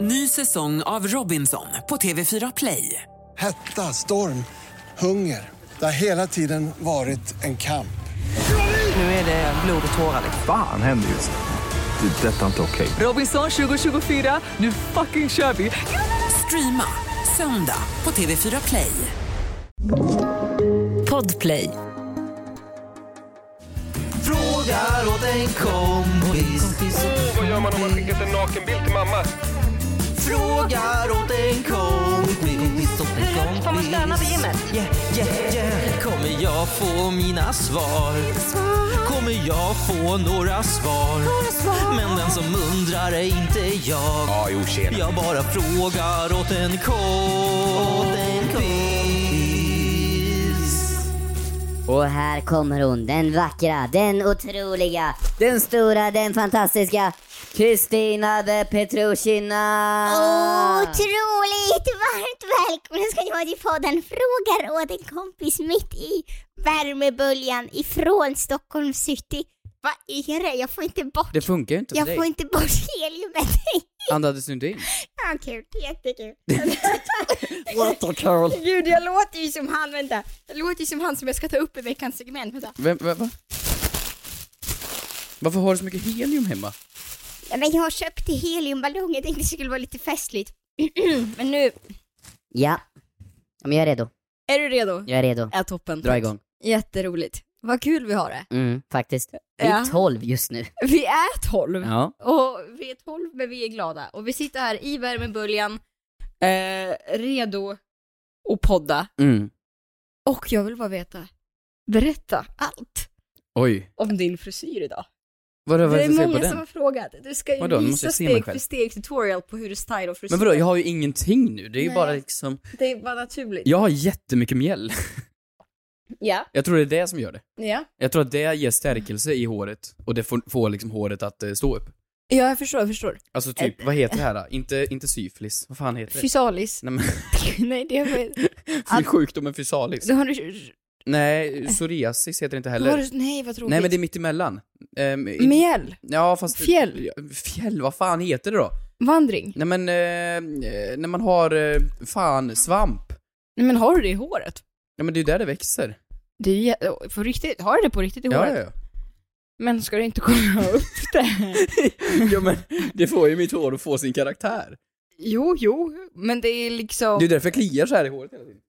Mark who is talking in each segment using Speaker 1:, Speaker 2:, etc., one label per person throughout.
Speaker 1: Ny säsong av Robinson på TV4 Play.
Speaker 2: Hetta, storm, hunger. Det har hela tiden varit en kamp.
Speaker 1: Nu är det Eh, blod och tårar.
Speaker 3: Fan händer just nu. Det. är Detta är inte okej.
Speaker 1: Robinson 2024, nu fucking kör vi! Streama söndag på TV4 Play. Podplay.
Speaker 4: Frågar åt en kompis.
Speaker 5: Vad gör man om man skickat en nakenbild till mamma?
Speaker 4: Frågar åt en kompis.
Speaker 6: Får man stöna på gymmet?
Speaker 4: Yeah, yeah, yeah. Kommer jag få mina svar? Kommer jag få några svar? Men den som undrar är inte jag.
Speaker 5: jo, tjena.
Speaker 4: Jag bara frågar åt en kompis.
Speaker 7: Och här kommer hon, den vackra, den otroliga, den stora, den fantastiska Kristina de Petrushina!
Speaker 8: Otroligt varmt välkomna ska ni vara till podden Frågar åt en kompis mitt i värmeböljan ifrån Stockholm city. Vad är det? Jag får inte bort,
Speaker 9: Det funkar ju inte för
Speaker 8: jag
Speaker 9: dig.
Speaker 8: får inte bort heliumet.
Speaker 9: Andades du inte in?
Speaker 8: Ja, kul. Jättekul. Gud, jag låter ju som han, vänta. Jag låter ju som han som jag ska ta upp i veckans segment. Vänta.
Speaker 9: Vem, va, va? Varför har du så mycket helium hemma?
Speaker 8: Ja, men jag har köpt heliumballonger, jag tänkte det skulle vara lite festligt. men nu,
Speaker 7: Ja, men jag är redo.
Speaker 8: är du redo?
Speaker 7: Jag är redo.
Speaker 8: Ja, toppen.
Speaker 7: Dra igång.
Speaker 8: Jätteroligt. Vad kul vi har det.
Speaker 7: Mm, faktiskt. Vi är
Speaker 8: Ja.
Speaker 7: 12 just nu.
Speaker 8: Vi är tolv.
Speaker 9: Ja.
Speaker 8: Och vi är 12 men vi är glada. Och vi sitter här i värmeböljan, eh, redo att podda.
Speaker 9: Mm.
Speaker 8: Och jag vill bara veta, berätta allt
Speaker 9: Oj.
Speaker 8: om din frisyr idag.
Speaker 9: Vadå, vad
Speaker 8: det
Speaker 9: är
Speaker 8: är
Speaker 9: det
Speaker 8: många
Speaker 9: på
Speaker 8: som
Speaker 9: den?
Speaker 8: har frågat. Du ska ju
Speaker 9: Vadå, nu måste
Speaker 8: visa
Speaker 9: jag se mig
Speaker 8: steg
Speaker 9: själv.
Speaker 8: för steg tutorial på hur du stylar frisyr.
Speaker 9: Men vadå, jag har ju ingenting nu. Det är ju
Speaker 8: Nej.
Speaker 9: bara liksom...
Speaker 8: Det är bara naturligt.
Speaker 9: Jag har jättemycket mjäll.
Speaker 8: Ja.
Speaker 9: Jag tror det är det som gör det.
Speaker 8: Ja.
Speaker 9: Jag tror att det ger stärkelse i håret och det får, får liksom håret att eh, stå upp.
Speaker 8: ja, jag förstår, jag förstår.
Speaker 9: Alltså typ, vad heter det här då? Inte, inte syfilis, vad fan heter det?
Speaker 8: Fysalis.
Speaker 9: Nej men,
Speaker 8: Nej, det är
Speaker 9: fy- sjukdomen fysalis.
Speaker 8: då har du...
Speaker 9: Nej, psoriasis heter det inte
Speaker 8: Då har
Speaker 9: heller.
Speaker 8: du... Nej, vad tråkigt.
Speaker 9: Nej men det är mittemellan. Um,
Speaker 8: Mjäll.
Speaker 9: Ja fast...
Speaker 8: Fjäll.
Speaker 9: Ja, Fjäll, vad fan heter det då?
Speaker 8: Vandring.
Speaker 9: Nej men, eh, eh, när man har, eh, fan, svamp.
Speaker 8: Nej, men har du det i håret?
Speaker 9: Ja men det är ju där det växer.
Speaker 8: Det är ju jä- på riktigt, har du det på riktigt i
Speaker 9: Ja,
Speaker 8: håret?
Speaker 9: ja, ja.
Speaker 8: Men ska du inte kolla upp det?
Speaker 9: ja men, det får ju mitt hår att få sin karaktär.
Speaker 8: jo, jo, men det är liksom...
Speaker 9: Det är ju därför jag kliar så här i håret hela tiden.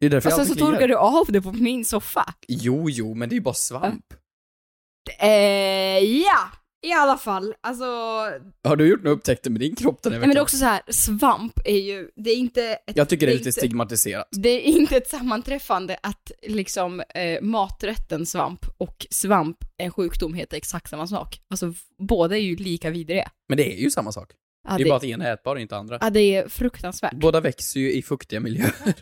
Speaker 9: Det är därför
Speaker 8: och sen
Speaker 9: jag
Speaker 8: Alltså, så
Speaker 9: alltid kliar.
Speaker 8: torkar du av det på min soffa.
Speaker 9: Jo, jo, men det är ju bara svamp.
Speaker 8: Eh, ja! I alla fall, alltså...
Speaker 9: Har du gjort några upptäckter med din kropp den här
Speaker 8: Nej, men det
Speaker 9: veckan?
Speaker 8: är också så här, svamp är ju, det är inte ett,
Speaker 9: Jag tycker det är
Speaker 8: det är
Speaker 9: lite
Speaker 8: inte-
Speaker 9: stigmatiserat.
Speaker 8: det är inte ett sammanträffande att liksom eh, maträtten svamp och svamp, en sjukdom, heter exakt samma sak. Alltså v- båda är ju lika vidriga.
Speaker 9: Men det är ju samma sak.
Speaker 8: Ja,
Speaker 9: det är bara att ena är ätbar och inte andra.
Speaker 8: ja, det är fruktansvärt.
Speaker 9: Båda växer ju i fuktiga miljöer.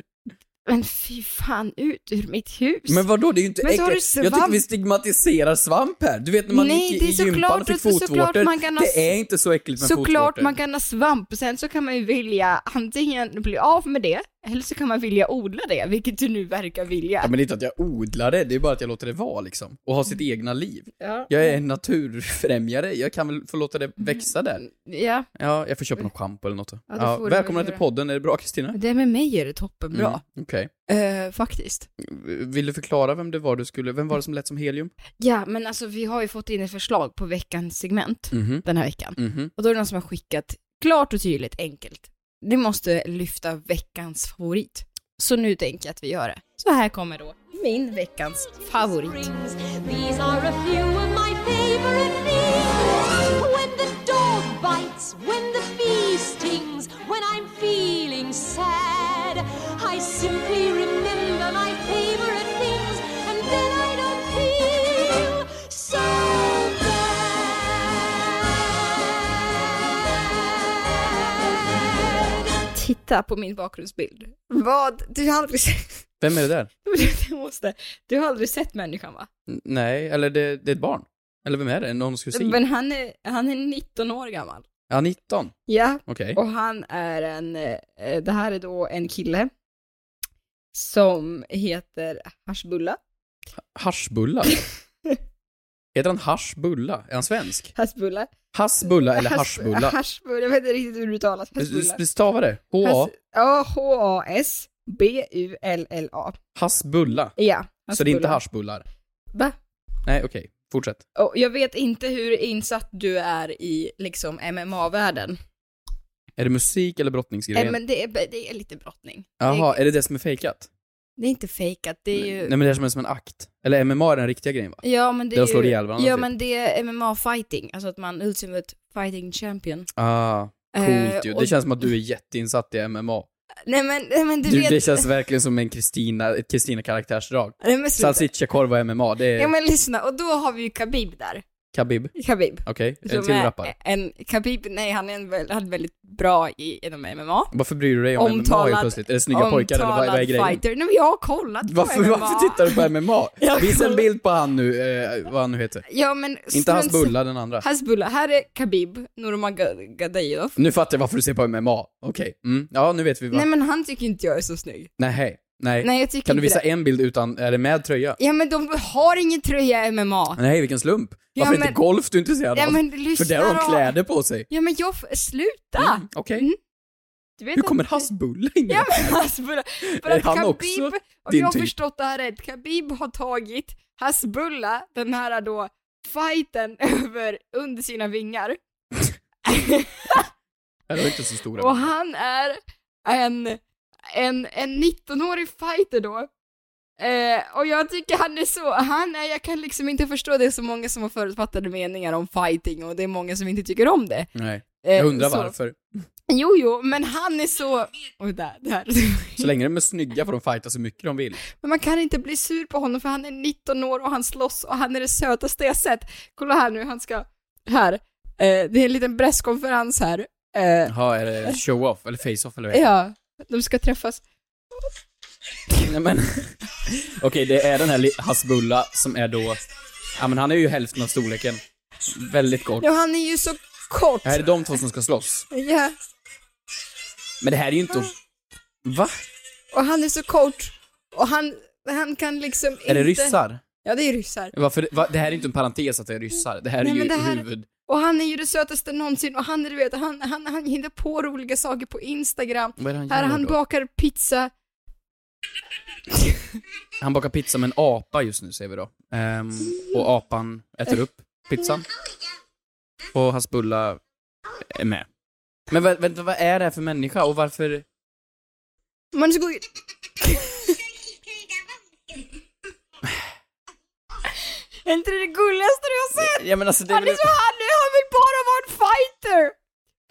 Speaker 8: Men fy fan ut ur mitt hus.
Speaker 9: Men vadå, det är ju inte
Speaker 8: Men så har du
Speaker 9: äckligt. Jag tycker
Speaker 8: svamp.
Speaker 9: vi stigmatiserar svamp här. Du vet när man
Speaker 8: Nej,
Speaker 9: gick i
Speaker 8: det är
Speaker 9: gympan
Speaker 8: såklart
Speaker 9: och fick
Speaker 8: att- såklart
Speaker 9: fotvårtor.
Speaker 8: man kan ha
Speaker 9: Det är inte så äckligt med
Speaker 8: Såklart
Speaker 9: fotvårtor.
Speaker 8: man kan ha svamp, sen så kan man ju vilja antingen bli av med det, eller så kan man vilja odla det, vilket du nu verkar vilja.
Speaker 9: Ja, men det är inte att jag odlar det, det är bara att jag låter det vara liksom. Och ha sitt egna liv.
Speaker 8: Ja.
Speaker 9: Jag är en naturfrämjare, jag kan väl få låta det växa där.
Speaker 8: ja.
Speaker 9: Ja, jag får köpa något schampo eller något. Ja,
Speaker 8: det får du
Speaker 9: välkomna
Speaker 8: väl
Speaker 9: till
Speaker 8: göra.
Speaker 9: podden, är det bra Kristina?
Speaker 8: Det med mig är det toppenbra.
Speaker 9: Mm, Okej.
Speaker 8: Eh, faktiskt.
Speaker 9: Vill du förklara vem det var du skulle, vem var det som lät som helium?
Speaker 8: Ja, men alltså vi har ju fått in ett förslag på veckans segment
Speaker 9: Mhm,
Speaker 8: den här veckan.
Speaker 9: mhm.
Speaker 8: Och då är det någon som har skickat, klart och tydligt, enkelt. Ni måste lyfta veckans favorit. Så nu tänker jag att vi gör det. Så här kommer då min veckans favorit.
Speaker 6: These are a few of my favorite things. When the dog bites, when the bee stings, when I'm feeling sad, I simply remember my favorite things, and then I don't feel so bad.
Speaker 8: Titta på min bakgrundsbild. Vad? Du har aldrig sett...
Speaker 9: Vem är det där?
Speaker 8: Du måste. Du har aldrig sett människan va?
Speaker 9: N- Nej, eller det, det är ett barn. Eller vem är det? Någon kusin?
Speaker 8: Men han är, han är 19 år gammal.
Speaker 9: Ja, 19.
Speaker 8: Ja,
Speaker 9: Okej.
Speaker 8: och han är en, eh, det här är då en kille som heter Hashbulla.
Speaker 9: Haschbulla. Heter han haschbulla? Är han svensk?
Speaker 8: Hashbulla.
Speaker 9: Hassbulla eller haschbulla?
Speaker 8: Haschbulla, jag vet inte riktigt hur det uttalas. Haschbulla.
Speaker 9: Du stavar det? H-A?
Speaker 8: Hasch- Ja, H-A-S. B-U-L-L-A.
Speaker 9: Hassbulla.
Speaker 8: Ja.
Speaker 9: Så det är inte
Speaker 8: haschbulla.
Speaker 9: haschbullar?
Speaker 8: Va?
Speaker 9: Nej, okej. Fortsätt.
Speaker 8: Och jag vet inte hur insatt du är i liksom MMA-världen.
Speaker 9: Är det musik eller brottningsgrejen?
Speaker 8: Eh, Men det är, det är lite brottning.
Speaker 9: Jaha, är det det som är fejkat?
Speaker 8: Det är inte fejkat, det är ju... Eh,
Speaker 9: Nej men det är som en, som en akt. Eller MMA är den riktiga grejen va?
Speaker 8: ja men det
Speaker 9: där
Speaker 8: är
Speaker 9: de slår
Speaker 8: ju...
Speaker 9: ihjäl varandra,
Speaker 8: Ja
Speaker 9: typ.
Speaker 8: men det är MMA-fighting, alltså att man Ultimate Fighting Champion.
Speaker 9: Ah,
Speaker 8: Eh,
Speaker 9: coolt ju.
Speaker 8: och-
Speaker 9: Det känns som att du är jätteinsatt i MMA.
Speaker 8: Nej men, nej, men du,
Speaker 9: Du,
Speaker 8: vet...
Speaker 9: det känns verkligen som en Kristina, ett Kristina-karaktärsdrag.
Speaker 8: Nej, men sluta.
Speaker 9: Salsicciakorv och MMA, det är
Speaker 8: Ja men lyssna, och då har vi ju Khabib där.
Speaker 9: Khabib.
Speaker 8: Khabib.
Speaker 9: Okej, en
Speaker 8: Som
Speaker 9: till
Speaker 8: är
Speaker 9: rappare.
Speaker 8: En, Khabib, nej han är en, väl- han är väldigt bra i, inom MMA.
Speaker 9: Varför bryr du dig om MMA helt
Speaker 8: omtalad-
Speaker 9: plötsligt? Är det snygga pojkar eller vad, vad är
Speaker 8: omtalad
Speaker 9: grejen?
Speaker 8: Fighter. Nej men jag har kollat
Speaker 9: Varför,
Speaker 8: på MMA.
Speaker 9: varför tittar du på MMA?
Speaker 8: Jag
Speaker 9: Visa en
Speaker 8: kollar-
Speaker 9: bild på han nu, eh, vad han nu heter.
Speaker 8: Ja men...
Speaker 9: Inte hans
Speaker 8: strunt-
Speaker 9: bulla, den andra.
Speaker 8: Hans bulla. Här är Khabib Nurmagomedov.
Speaker 9: Nu fattar jag varför du ser på MMA. Okej, mm. ja nu vet vi vad.
Speaker 8: Nej men han tycker inte jag är så snygg.
Speaker 9: Nej, hej. Nej.
Speaker 8: Nej jag tycker
Speaker 9: Kan du
Speaker 8: inte
Speaker 9: visa
Speaker 8: det.
Speaker 9: en bild utan, är det med tröja?
Speaker 8: Ja men de har ingen tröja i MMA.
Speaker 9: Nej, vilken slump.
Speaker 8: Ja,
Speaker 9: Varför är
Speaker 8: men-
Speaker 9: inte golf du är intresserad
Speaker 8: Ja
Speaker 9: av?
Speaker 8: men lyssna
Speaker 9: För där har de
Speaker 8: då.
Speaker 9: kläder på sig.
Speaker 8: Ja men jag, f- sluta!
Speaker 9: Mm, Okej.
Speaker 8: Mm. Du vet
Speaker 9: Hur kommer
Speaker 8: att-
Speaker 9: hassbullen in?
Speaker 8: Ja men Hasbulla, för
Speaker 9: Är
Speaker 8: att
Speaker 9: han
Speaker 8: Khabib,
Speaker 9: också
Speaker 8: om
Speaker 9: din
Speaker 8: jag har
Speaker 9: typ?
Speaker 8: förstått det här rätt, Khabib har tagit Hasbulla, den här då fighten över, under sina vingar.
Speaker 9: Eller inte så stora.
Speaker 8: Och han är en, en, en 19-årig fighter då. Eh, och jag tycker han är så, han är, jag kan liksom inte förstå, det är så många som har förutfattade meningar om fighting och det är många som inte tycker om det.
Speaker 9: Nej,
Speaker 8: Eh,
Speaker 9: jag undrar
Speaker 8: så.
Speaker 9: varför.
Speaker 8: Jo, jo, men han är så... Oj, där, där.
Speaker 9: Så länge de är snygga får de fighta så mycket de vill.
Speaker 8: Men man kan inte bli sur på honom för han är 19 år och han slåss och han är det sötaste jag sett. Kolla här nu, han ska... Här. Eh, det är en liten presskonferens här. Eh,
Speaker 9: Jaha, är det show-off eller face-off eller vad heter
Speaker 8: ja, de ska träffas.
Speaker 9: det? Nej men... Okej, det är den här li- Hasbulla som är då... Ja men han är ju hälften av storleken. Väldigt kort.
Speaker 8: Ja, han är ju så kort.
Speaker 9: Det här är de två som ska slåss.
Speaker 8: Ja,
Speaker 9: Men det här är ju inte... Va?
Speaker 8: och han är så kort. Och han, han kan liksom inte...
Speaker 9: Är det ryssar?
Speaker 8: Ja, det är ryssar.
Speaker 9: Varför, va? Det här är inte en parentes att det är ryssar. Det här är
Speaker 8: Nej,
Speaker 9: ju
Speaker 8: men det här-
Speaker 9: huvud...
Speaker 8: Och han är ju det sötaste någonsin och han är, du vet, han, han, han hittar på roliga saker på Instagram.
Speaker 9: Vad är det han
Speaker 8: Här,
Speaker 9: gör
Speaker 8: han
Speaker 9: då?
Speaker 8: bakar pizza.
Speaker 9: Han bakar pizza med en apa just nu, säger vi då. Ehm, och apan äter upp pizzan. Och hans bulla är med. Men vä- vänta, vad är det här för människa och varför...
Speaker 8: Man ska gå ut. Är inte det det gulligaste du har sett?
Speaker 9: Ja men alltså det är,
Speaker 8: Han
Speaker 9: väl...
Speaker 8: är så han är, han vill bara vara en fighter!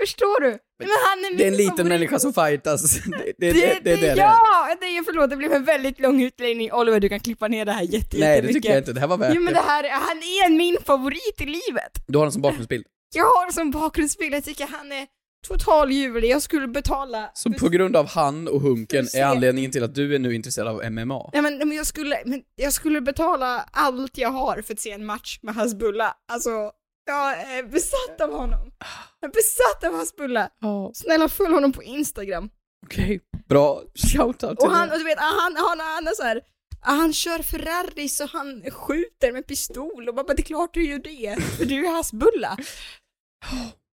Speaker 8: Förstår du? Men, men han är
Speaker 9: det är
Speaker 8: min
Speaker 9: en liten
Speaker 8: favorit.
Speaker 9: människa som fightas. Det, det, det,
Speaker 8: Det,
Speaker 9: det, det, det, är det.
Speaker 8: ja! Det är, förlåt, det blev en väldigt lång utläggning. Oliver, du kan klippa ner det här jätte,
Speaker 9: Nej, det
Speaker 8: jättemycket.
Speaker 9: tycker jag inte. Det här var värt
Speaker 8: Jo men det
Speaker 9: det.
Speaker 8: här, är- han är min favorit i livet.
Speaker 9: Du har den som bakgrundsbild.
Speaker 8: Jag har som bakgrundsbild, jag tycker han är total ljuvlig. Jag skulle betala...
Speaker 9: Så på grund av han och Hunken
Speaker 8: se.
Speaker 9: är anledningen till att du är nu intresserad av MMA.
Speaker 8: Nej men, men, jag skulle, men jag skulle betala allt jag har för att se en match med hans bulla. Alltså, jag är besatt av honom. Jag är besatt av hans bulla.
Speaker 9: Ja,
Speaker 8: Snälla följ honom på Instagram.
Speaker 9: okej. Bra shoutout till
Speaker 8: Och han,
Speaker 9: dig.
Speaker 8: och du vet, ah, han, han, han är så här, ah, han kör Ferrari så han skjuter med pistol och bara, det är klart du gör det, för du är hans bulla.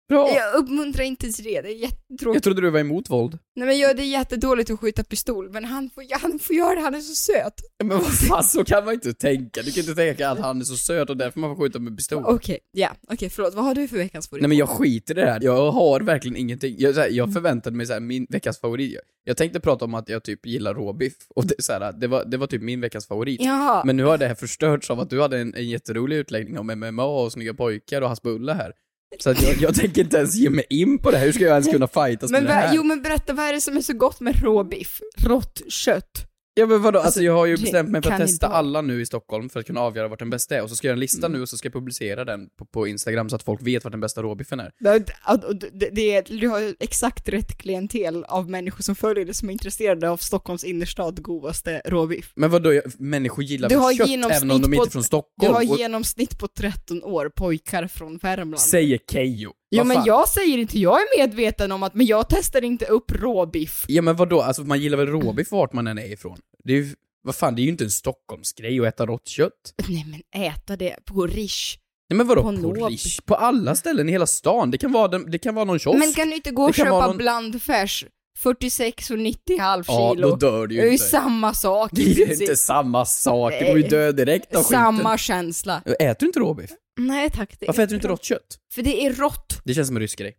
Speaker 9: Bra.
Speaker 8: Jag uppmuntrar inte till det, det är
Speaker 9: Jag
Speaker 8: jättetråkigt.
Speaker 9: trodde du var emot våld.
Speaker 8: Nej men jag, det är jättedåligt att skjuta pistol, men han får, han får göra det, han är så söt.
Speaker 9: Men vad fan, så kan man inte tänka. Du kan inte tänka att han är så söt och därför man får skjuta med pistol.
Speaker 8: Okej, ja, okej förlåt, vad har du för veckans favorit?
Speaker 9: Mm. Nej men jag skiter i det här, jag har verkligen ingenting. Jag, så här, jag förväntade mig så här, min veckans favorit. Jag, jag tänkte prata om att jag typ gillar råbiff, och det, så här, det, var, det var typ min veckans favorit.
Speaker 8: Jaha.
Speaker 9: Men nu har det här förstörts av att du hade en, en jätterolig utläggning om MMA och snygga pojkar och Hasbulla här. Så att jag, jag tänker inte ens ge mig in på det här, hur ska jag ens kunna fightas
Speaker 8: Men
Speaker 9: med det
Speaker 8: vad-
Speaker 9: här?
Speaker 8: jo men berätta, vad är det som är så gott med råbiff? Rått kött.
Speaker 9: Ja men vadå, alltså jag har ju
Speaker 8: det-
Speaker 9: bestämt mig för att
Speaker 8: kan
Speaker 9: testa
Speaker 8: inte-
Speaker 9: alla nu i Stockholm för att kunna avgöra vart den bästa är, och så ska jag göra en lista
Speaker 8: Mm.
Speaker 9: nu och så ska jag publicera den på, på Instagram så att folk vet vart den bästa råbiffen är.
Speaker 8: Det, det, det, är- du har exakt rätt klientel av människor som följer dig som är intresserade av Stockholms innerstad godaste råbiff.
Speaker 9: Men vadå, jag, människor gillar
Speaker 8: Du har
Speaker 9: väl kött
Speaker 8: genomsnitt
Speaker 9: även om de inte
Speaker 8: på-
Speaker 9: är från
Speaker 8: Du
Speaker 9: Stockholm?
Speaker 8: har
Speaker 9: och-
Speaker 8: genomsnitt på 13 år, pojkar från Värmland.
Speaker 9: Säger Keyyo.
Speaker 8: jo
Speaker 9: Vad
Speaker 8: men
Speaker 9: fan?
Speaker 8: jag säger inte, jag är medveten om att, men jag testar inte upp råbiff.
Speaker 9: Ja men vadå, alltså man gillar väl råbiff vart man än är ifrån? Det är ju, vad fan, det är ju inte en Stockholmsgrej att äta rått kött.
Speaker 8: Nej men äta det på Rish.
Speaker 9: Nej men vadå
Speaker 8: På
Speaker 9: på,
Speaker 8: Nob.
Speaker 9: Rish? På alla ställen i hela stan? Det kan vara, den, det kan vara någon kiosk?
Speaker 8: Men kan du inte gå och
Speaker 9: Det kan
Speaker 8: köpa
Speaker 9: vara någon-
Speaker 8: blandfärs 46 och 90 halv
Speaker 9: ja,
Speaker 8: kilo?
Speaker 9: då dör du
Speaker 8: det är
Speaker 9: ju
Speaker 8: ju
Speaker 9: inte.
Speaker 8: samma sak
Speaker 9: Det
Speaker 8: i
Speaker 9: är ju
Speaker 8: princip.
Speaker 9: inte samma sak, du går ju dö direkt av
Speaker 8: Samma känsla.
Speaker 9: skiten. Äter du inte råbiff?
Speaker 8: Nej tack. Det är
Speaker 9: Varför äter du inte
Speaker 8: bra.
Speaker 9: rått kött?
Speaker 8: För det är rått.
Speaker 9: Det känns som en rysk grej.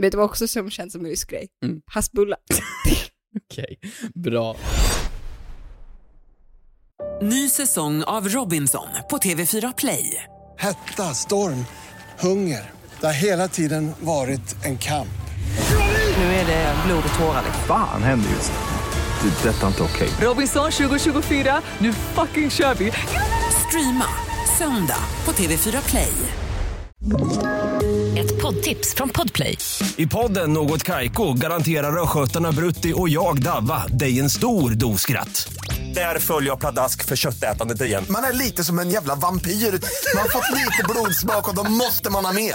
Speaker 8: Vet du vad också som känns som en rysk grej?
Speaker 9: Mm.
Speaker 8: Hassbullar.
Speaker 9: Okej, bra.
Speaker 1: Ny säsong av Robinson på TV4 Play.
Speaker 2: Hetta, storm, hunger. Det har hela tiden varit en kamp.
Speaker 1: Nu är det blod och tårar.
Speaker 3: Fan händer just det. Det är detta inte okej.
Speaker 1: Robinson 2024, nu fucking kör vi! Streama söndag på TV4 Play.
Speaker 10: Ett poddtips från Podplay.
Speaker 11: I podden Något Kaiko garanterar östgötarna Brutti och jag, Davva, dig en stor dos skratt. Där följer jag pladask för köttätandet igen.
Speaker 12: Man är lite som en jävla vampyr. Man har fått lite blodsmak och då måste man ha mer.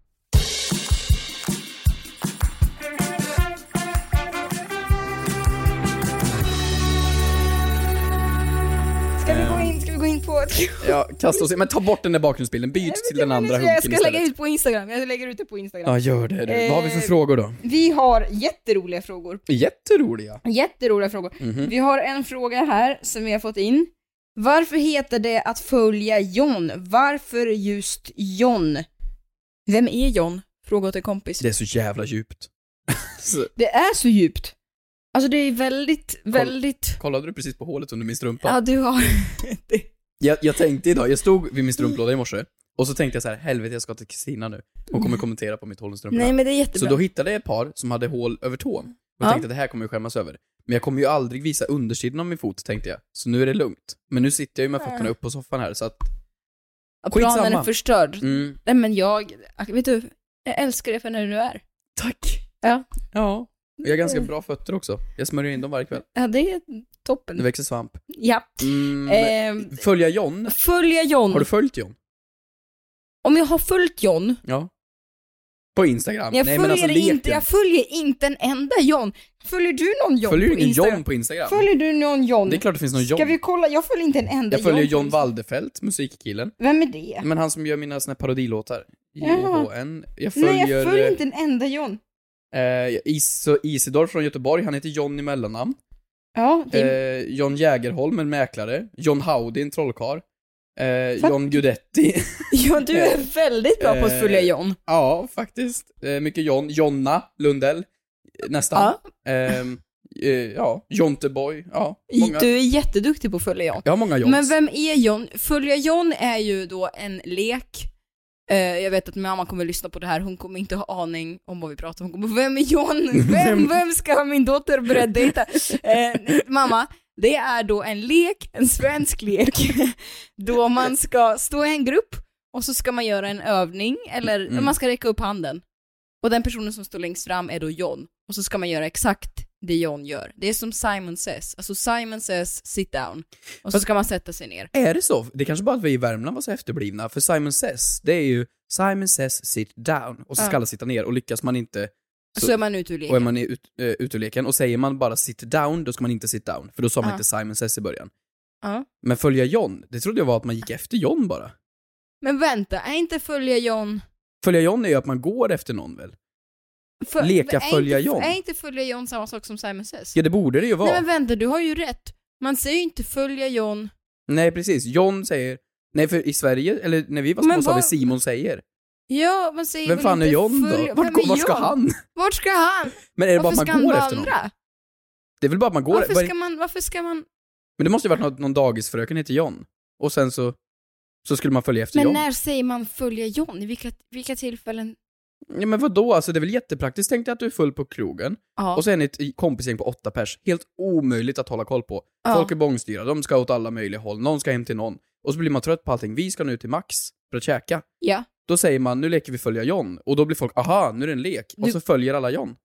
Speaker 8: Ska vi gå in, ska vi gå in på...
Speaker 9: Ja, kasta oss in. Men ta bort den där bakgrundsbilden, byt till den andra hunken
Speaker 8: Jag ska
Speaker 9: istället.
Speaker 8: lägga ut på Instagram. Jag lägger ut det på Instagram.
Speaker 9: Ja, gör det du. Vad har vi för
Speaker 8: Eh,
Speaker 9: frågor då?
Speaker 8: Vi har jätteroliga frågor.
Speaker 9: Jätteroliga.
Speaker 8: Jätteroliga frågor.
Speaker 9: Mhm.
Speaker 8: Vi har en fråga här som vi har fått in. Varför heter det att följa John? Varför just John? Vem är John? Fråga åt en kompis.
Speaker 9: Det
Speaker 8: Det,
Speaker 9: är så jävla djupt. Så,
Speaker 8: är så djupt. Alltså det är väldigt, väldigt...
Speaker 9: kollade du precis på hålet under min strumpa?
Speaker 8: Ja, du har... det.
Speaker 9: Jag, jag tänkte idag, jag stod vid min strumplåda i morse och så tänkte jag så här, helvete jag ska till Kristina nu. Hon kommer kommentera på mitt hål i strumporna.
Speaker 8: Nej men det är
Speaker 9: så
Speaker 8: jättebra.
Speaker 9: då hittade jag ett par som hade hål över tån. Och jag
Speaker 8: Ja.
Speaker 9: tänkte att det här kommer jag skämmas över. Men jag kommer ju aldrig visa undersidan av min fot, tänkte jag. Så nu är det lugnt. Men nu sitter jag ju med fötterna upp på soffan här, så att...
Speaker 8: Att Planen är
Speaker 9: skitsamma.
Speaker 8: förstörd.
Speaker 9: Mm,
Speaker 8: Nej men jag... Vet du? Jag älskar dig för när du är.
Speaker 9: tack.
Speaker 8: Ja.
Speaker 9: Ja. Och Jag har ganska bra fötter också. Jag smörjer in dem varje kväll.
Speaker 8: Ja, det är
Speaker 9: Det
Speaker 8: toppen.
Speaker 9: växer svamp.
Speaker 8: Ja.
Speaker 9: Mm,
Speaker 8: Ehm,
Speaker 9: Följa John.
Speaker 8: följa John.
Speaker 9: Har du följt John?
Speaker 8: Om jag har följt John
Speaker 9: Ja. På Instagram?
Speaker 8: Jag
Speaker 9: Nej
Speaker 8: följer
Speaker 9: men alltså leken.
Speaker 8: inte, jag följer inte en enda John. Följer du någon John
Speaker 9: Följer du
Speaker 8: på
Speaker 9: ingen
Speaker 8: Instagram?
Speaker 9: John på Instagram?
Speaker 8: Följer du någon John?
Speaker 9: Det är klart det finns någon John.
Speaker 8: Ska vi kolla? Jag följer inte en enda
Speaker 9: Jag följer
Speaker 8: John. på
Speaker 9: John
Speaker 8: Insta-
Speaker 9: Waldefelt, musikkillen.
Speaker 8: Vem är det?
Speaker 9: Men han som gör mina såna här parodilåtar.
Speaker 8: Jaha.
Speaker 9: JHN. Jag
Speaker 8: Nej, jag
Speaker 9: följer
Speaker 8: följer inte en enda John.
Speaker 9: eh, Is Isidor från Göteborg, han heter John i mellannamn.
Speaker 8: Ja, det är...
Speaker 9: Eh, John Jägerholm, en mäklare. John Howdy, en trollkarl. Eh,
Speaker 8: Fuck.
Speaker 9: John Gudetti.
Speaker 8: ja, du är väldigt bra på att följa
Speaker 9: eh,
Speaker 8: John.
Speaker 9: ja, faktiskt. Eh, mycket John. Jonna Lundell. eh, Nästan. Ehm, eh, ja, Jonteboy. Ja, många.
Speaker 8: Du är jätteduktig på att följa John.
Speaker 9: Jag har många Johns.
Speaker 8: Men vem är John? Följa John är ju då en lek. Eh, jag vet att mamma kommer lyssna på det här, hon kommer inte ha aning om vad vi pratar om. Hon kommer, vem är John? Vem, vem ska min dotter börja dejta? Eh, mamma, det är då en lek, en svensk lek, då man ska stå i en grupp och så ska man göra en övning, eller
Speaker 9: Mm.
Speaker 8: man ska räcka upp handen. Och den personen som står längst fram är då John. Och så ska man göra exakt det John gör. Det är som Simon Says. Alltså Simon Says, sit down. Och så ska man sätta sig ner.
Speaker 9: Är det så? Det kanske bara att vi i Värmland var så efterblivna, för Simon Says, det är ju Simon Says sit down, och så ska
Speaker 8: Ja.
Speaker 9: alla sitta ner, och lyckas man inte
Speaker 8: Så, är man ute ur
Speaker 9: och är
Speaker 8: leken.
Speaker 9: man i ut, eh, ute ur leken, och säger man bara sit down, då ska man inte sit down, för då sa man
Speaker 8: Ja.
Speaker 9: inte Simon Says i början.
Speaker 8: Ja.
Speaker 9: Men följa John, det trodde jag var att man gick efter John bara.
Speaker 8: Men vänta, är inte följa John...
Speaker 9: Följa John är ju att man går efter någon väl?
Speaker 8: Föl-
Speaker 9: Leka
Speaker 8: är
Speaker 9: följa
Speaker 8: inte,
Speaker 9: John.
Speaker 8: Är inte följa John samma sak som Simon Says?
Speaker 9: Ja, det borde det ju vara.
Speaker 8: Nej men vänta, du har ju rätt. Man säger ju inte följa John.
Speaker 9: Nej, precis. John säger... Nej, för i Sverige, eller när vi var
Speaker 8: Men
Speaker 9: små sa vi
Speaker 8: vad-
Speaker 9: Simon säger.
Speaker 8: Ja, man säger
Speaker 9: Vem
Speaker 8: väl
Speaker 9: fan är
Speaker 8: inte
Speaker 9: John
Speaker 8: följa-
Speaker 9: då? Vart,
Speaker 8: Vem
Speaker 9: går-
Speaker 8: är
Speaker 9: vart ska
Speaker 8: John?
Speaker 9: han?
Speaker 8: Vart ska han?
Speaker 9: Men är det bara
Speaker 8: Varför
Speaker 9: att
Speaker 8: ska
Speaker 9: man
Speaker 8: han
Speaker 9: går efter någon?
Speaker 8: vandra?
Speaker 9: Det är väl bara att man går...
Speaker 8: Varför
Speaker 9: var-
Speaker 8: ska man, varför ska man...
Speaker 9: Men det måste ju varit något, någon dagisfröken heter John. Och sen så, så skulle man följa efter
Speaker 8: Men
Speaker 9: John.
Speaker 8: när säger man följa John? I vilka, vilka tillfällen?
Speaker 9: Ja, men vadå, alltså det är väl jättepraktiskt. Tänk dig att du är full på krogen,
Speaker 8: Ja.
Speaker 9: och sen ett kompisgäng på åtta pers. Helt omöjligt att hålla koll på.
Speaker 8: Ja.
Speaker 9: Folk är bångstyriga, de ska åt alla möjliga håll, någon ska hem till någon. Och så blir man trött på allting. Vi ska nu till Max för att käka.
Speaker 8: ja.
Speaker 9: Då säger man, nu leker vi följa John. Och då blir folk, aha, nu är det en lek. Och
Speaker 8: Du-
Speaker 9: så följer alla John.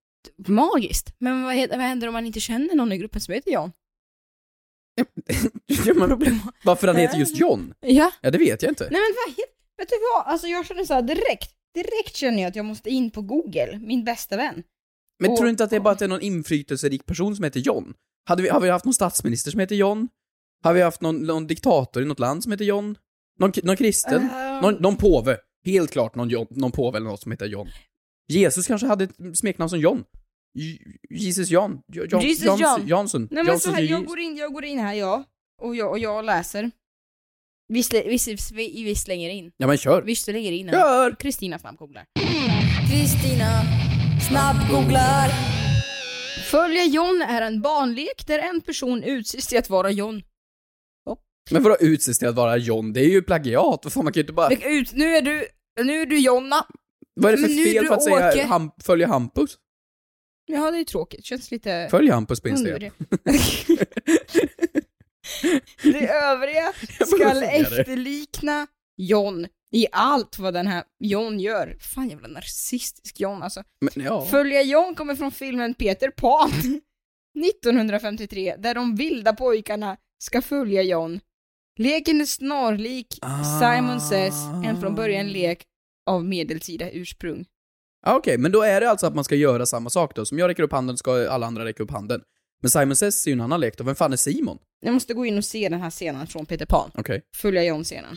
Speaker 8: Magiskt. Men vad, he- vad händer om man inte känner någon i gruppen som heter John?
Speaker 9: ja, men, varför han heter just John?
Speaker 8: Ja.
Speaker 9: Ja, det vet jag inte.
Speaker 8: Nej men vad heter... Vet du vad? Alltså jag känner så här direkt, direkt känner jag att jag måste in på Google, min bästa vän.
Speaker 9: Men
Speaker 8: Och-
Speaker 9: tror du inte att det är bara att det är någon inflytelserik person som heter John? Hade vi, har vi haft någon statsminister som heter John? Har vi haft någon, någon diktator i något land som heter John? Någon, k- någon kristen?
Speaker 8: Ehm.
Speaker 9: Någon, någon påve? Helt klart någon, John, någon påve eller något som heter John. Jesus kanske hade ett smeknamn som John. J- Jesus John. Jo- John
Speaker 8: Jesus
Speaker 9: Johns-
Speaker 8: John.
Speaker 9: Johnson.
Speaker 8: Nej men
Speaker 9: Johnson
Speaker 8: så här,
Speaker 9: J-
Speaker 8: jag går in, jag går in här jag, och jag, och jag läser. Vi, slä, vi, slä- vi, vi slänger in.
Speaker 9: Ja, men kör.
Speaker 8: Vi slänger in
Speaker 9: Kör!
Speaker 8: Kristina snabbgooglar.
Speaker 7: Kristina snabbgooglar.
Speaker 8: Följa John är en barnlek där en person utses till att vara John.
Speaker 9: Men vadå utses till att vara John? Det är ju plagiat. Vad fan, man kan ju inte bara...
Speaker 8: Lägg Ut, nu är du, nu är du Jonna.
Speaker 9: Vad är det för
Speaker 8: Men nu är
Speaker 9: fel
Speaker 8: du
Speaker 9: för att
Speaker 8: Åke.
Speaker 9: säga ham, följa Hampus?
Speaker 8: Ja det är tråkigt, känns lite...
Speaker 9: Följ Hampus på Instagram.
Speaker 8: Under. Det övriga
Speaker 9: bara
Speaker 8: skall
Speaker 9: säga det.
Speaker 8: efterlikna John i allt vad den här John gör. Fan jävla narcissistisk John alltså.
Speaker 9: Men ja.
Speaker 8: Följa John kommer från filmen Peter Pan 1953 där de vilda pojkarna ska följa John. Leken är snarlik Simon Says, en från början lek av medeltida ursprung.
Speaker 9: Ja, Okej, men då är det alltså att man ska göra samma sak då. Som jag räcker upp handen ska alla andra räcka upp handen. Men Simon Says är ju en annan lek då. Vem fan är Simon?
Speaker 8: Jag måste gå in och se den här scenen från Peter Pan.
Speaker 9: Okej.
Speaker 8: Följa John-scenen.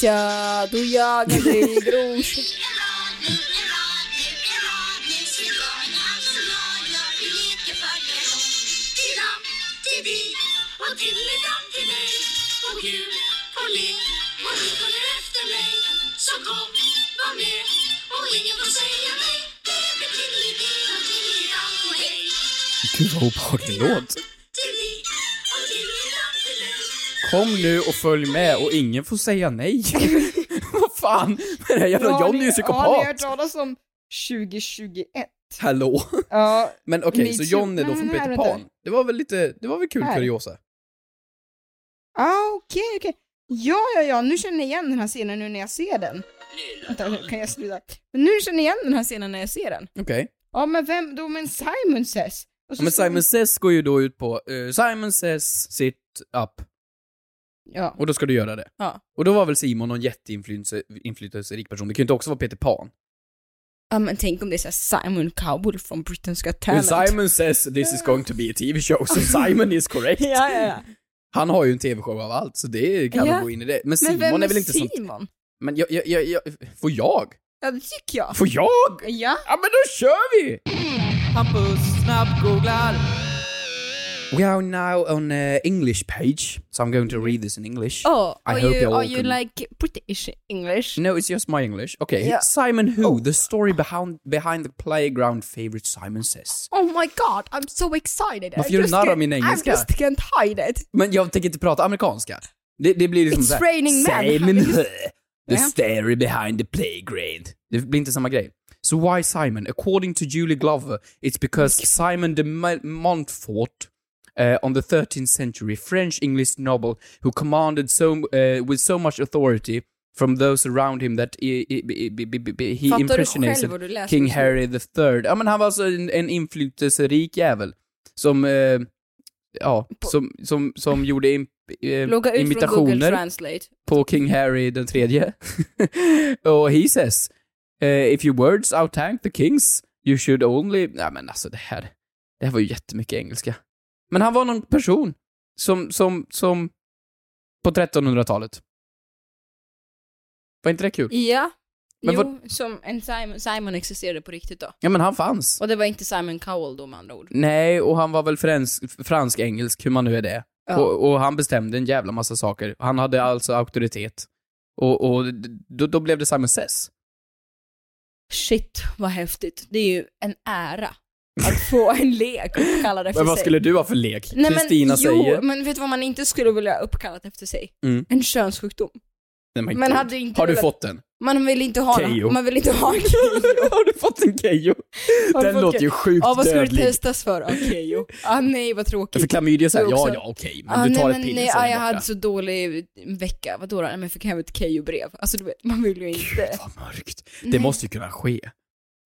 Speaker 8: Tja, då jagar vi grus.
Speaker 9: Gud vad obehaglig låt. Kom nu och följ med och ingen får säga nej. vad fan? Men den här jävla
Speaker 8: Har
Speaker 9: John är
Speaker 8: ni-
Speaker 9: ju
Speaker 8: Har ni hört
Speaker 9: psykopat.
Speaker 8: talas om 2021?
Speaker 9: Hallå?
Speaker 8: Ja.
Speaker 9: Men okej,
Speaker 8: Me
Speaker 9: så
Speaker 8: too.
Speaker 9: John är då
Speaker 8: Nej,
Speaker 9: från
Speaker 8: men
Speaker 9: Peter
Speaker 8: här, vänta.
Speaker 9: Pan. Det var väl lite, det var väl kul
Speaker 8: Här.
Speaker 9: kuriosa?
Speaker 8: Ah, okej, okej. Ja, ja, ja, nu känner jag igen den här scenen nu när jag ser den. Vänta, kan jag sluta? Men nu känner jag igen den här scenen när jag ser den.
Speaker 9: Okej.
Speaker 8: Ja, men vem då? Men Simon Says. Och
Speaker 9: Ja,
Speaker 8: så
Speaker 9: men
Speaker 8: står-
Speaker 9: Simon Says går ju då ut på eh, Simon Says sit up.
Speaker 8: Ja.
Speaker 9: Och då ska du göra det.
Speaker 8: Ja.
Speaker 9: Och då var väl Simon någon jätteinflytelserik person. Det kan ju inte också vara Peter Pan.
Speaker 8: Ja, men tänk om det är så här Simon Cowell från Britain's Got
Speaker 9: When
Speaker 8: Talent.
Speaker 9: Simon says this is going to be a TV show, so Simon is correct.
Speaker 8: Ja, ja, ja.
Speaker 9: Han har ju en TV-show av allt, så det kan
Speaker 8: Ja.
Speaker 9: nog gå in i det. Men Simon
Speaker 8: vem
Speaker 9: är väl inte sånt...
Speaker 8: Simon?
Speaker 9: Men jag, jag, jag, jag, får jag?
Speaker 8: Ja, det tycker jag.
Speaker 9: Får jag?
Speaker 8: Ja.
Speaker 9: Ja, men då kör vi!
Speaker 13: Hampus snabbgooglar.
Speaker 9: We are now on uh, English page, so I'm going to read this in English.
Speaker 8: Oh,
Speaker 9: I
Speaker 8: are
Speaker 9: hope
Speaker 8: you,
Speaker 9: all
Speaker 8: are you
Speaker 9: can-
Speaker 8: like British English?
Speaker 9: No, it's just my English. Okay,
Speaker 8: Yeah. Oh.
Speaker 9: Simon Who, the story behind, behind the playground favorite Simon Says.
Speaker 8: Oh my god, I'm so excited.
Speaker 9: Varför
Speaker 8: I
Speaker 9: gör du
Speaker 8: just
Speaker 9: narr av
Speaker 8: can't-
Speaker 9: min engelska?
Speaker 8: I just can't hide it.
Speaker 9: Men jag tänker inte prata amerikanska. Det, det blir liksom
Speaker 8: It's
Speaker 9: såhär...
Speaker 8: raining men.
Speaker 9: Simon Hö, the
Speaker 8: Ja.
Speaker 9: story behind the playground. Det blir inte samma grej. So why Simon? According to Julie Glover, it's because Simon de Mo- Montfort uh, on the 13th century, French-English noble who commanded so, uh, with so much authority from those around him that he, he, he, he, he
Speaker 13: Fattar du själv
Speaker 9: impersonated
Speaker 13: vad du läser
Speaker 9: King
Speaker 13: just nu?
Speaker 9: Harry the third. Ja men han var alltså en, en inflytelserik jävel. Som, eh, ja, som, som, som gjorde im, eh,
Speaker 8: Logga ut från Google
Speaker 9: imitationer
Speaker 8: Translate.
Speaker 9: på King Harry den tredje. och he says, eh, if your words outtank the kings, you should only... Nej men alltså det här, det här var ju jättemycket engelska. Men han var någon person som, som, som på 1300-talet. Var inte det kul?
Speaker 8: Ja.
Speaker 9: Men
Speaker 8: jo, som en Simon, Simon existerade på riktigt då.
Speaker 9: Ja men han fanns.
Speaker 8: Och det var inte Simon Cowell då med andra ord.
Speaker 9: Nej, och han var väl fransk- fransk-engelsk, hur man nu är det.
Speaker 8: Ja.
Speaker 9: Och, och han bestämde en jävla massa saker. Han hade alltså auktoritet. Och, och d- då, då blev det Simon Says.
Speaker 8: Shit, vad häftigt. Det är ju en ära att få en lek uppkallad efter
Speaker 9: Men vad
Speaker 8: sig.
Speaker 9: skulle du ha för lek?
Speaker 8: Nej,
Speaker 9: Kristina
Speaker 8: men,
Speaker 9: säger...
Speaker 8: Jo, men vet du vad man inte skulle vilja ha uppkallat efter sig?
Speaker 9: Mm.
Speaker 8: En könssjukdom.
Speaker 9: Nej, men
Speaker 8: Men
Speaker 9: gud.
Speaker 8: hade inte
Speaker 9: har du
Speaker 8: velat-
Speaker 9: fått den?
Speaker 8: Man vill inte ha
Speaker 9: Keyyo.
Speaker 8: en, man vill inte ha en Keyyo.
Speaker 9: har du fått en Keyyo?
Speaker 8: Har du
Speaker 9: Den
Speaker 8: fått
Speaker 9: låter ju
Speaker 8: Keyyo?
Speaker 9: sjukt
Speaker 8: Ja, vad ska
Speaker 9: dödlig.
Speaker 8: du testas för? Ja, Keyyo. Ah, nej, vad tråkigt.
Speaker 9: För klamydia säger
Speaker 8: Du
Speaker 9: ja,
Speaker 8: också.
Speaker 9: ja, okej, men
Speaker 8: Ah,
Speaker 9: du tar
Speaker 8: nej,
Speaker 9: ett
Speaker 8: men
Speaker 9: piller
Speaker 8: Nej,
Speaker 9: så är
Speaker 8: ah,
Speaker 9: det
Speaker 8: jag
Speaker 9: borta.
Speaker 8: hade så dålig vecka. Vadå då? Nej, men jag fick hem ett Keyyo-brev. Alltså du vet, man vill ju inte.
Speaker 9: Mörkt. Det
Speaker 8: Nej.
Speaker 9: måste ju kunna ske.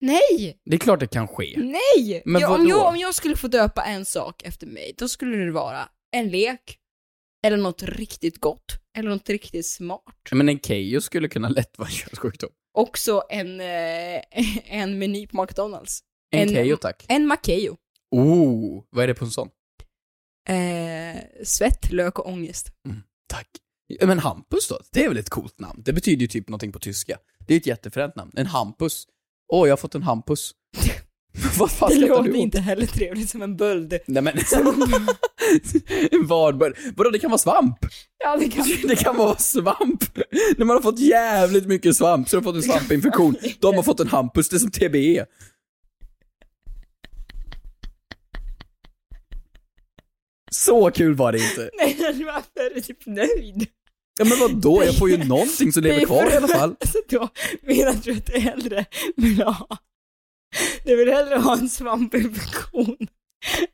Speaker 8: Nej!
Speaker 9: Det är klart det kan ske.
Speaker 8: Mm. Nej!
Speaker 9: Men
Speaker 8: ja, om,
Speaker 9: vadå?
Speaker 8: jag, om jag skulle få döpa en sak efter mig, då skulle det vara en lek, Eller något riktigt gott. Eller något riktigt smart.
Speaker 9: Men en Keyyo skulle kunna lätt vara en könssjukdom.
Speaker 8: Också en, eh, en meny på McDonalds.
Speaker 9: En Keyyo, tack.
Speaker 8: En Makeyo.
Speaker 9: Oh, vad är det på en sån?
Speaker 8: Eh, svett, lök och ångest.
Speaker 9: Ja, Men Hampus då? Det är väl ett coolt namn? Det betyder ju typ någonting på tyska. Det är ju ett jättefränt namn. En Hampus. Åh, jag har fått en Hampus. Vad fan
Speaker 8: det
Speaker 9: skrattar du
Speaker 8: låter
Speaker 9: åt?
Speaker 8: inte heller trevligt som en böld.
Speaker 9: Nej men... en vardböld. Vadå, det kan vara svamp?
Speaker 8: Ja, det kan
Speaker 9: Det kan vara svamp. När man har fått jävligt mycket svamp, så har man fått en svampinfektion. Då har man fått en Hampus, det är som E. TBE. Så kul var det inte.
Speaker 8: Nej, varför är du typ nöjd?
Speaker 9: Ja men vadå, jag får ju någonting som lever
Speaker 8: Nej,
Speaker 9: kvar i alla fall.
Speaker 8: Alltså då menar du att du hellre vill ha... Du vill hellre ha en svampinfektion.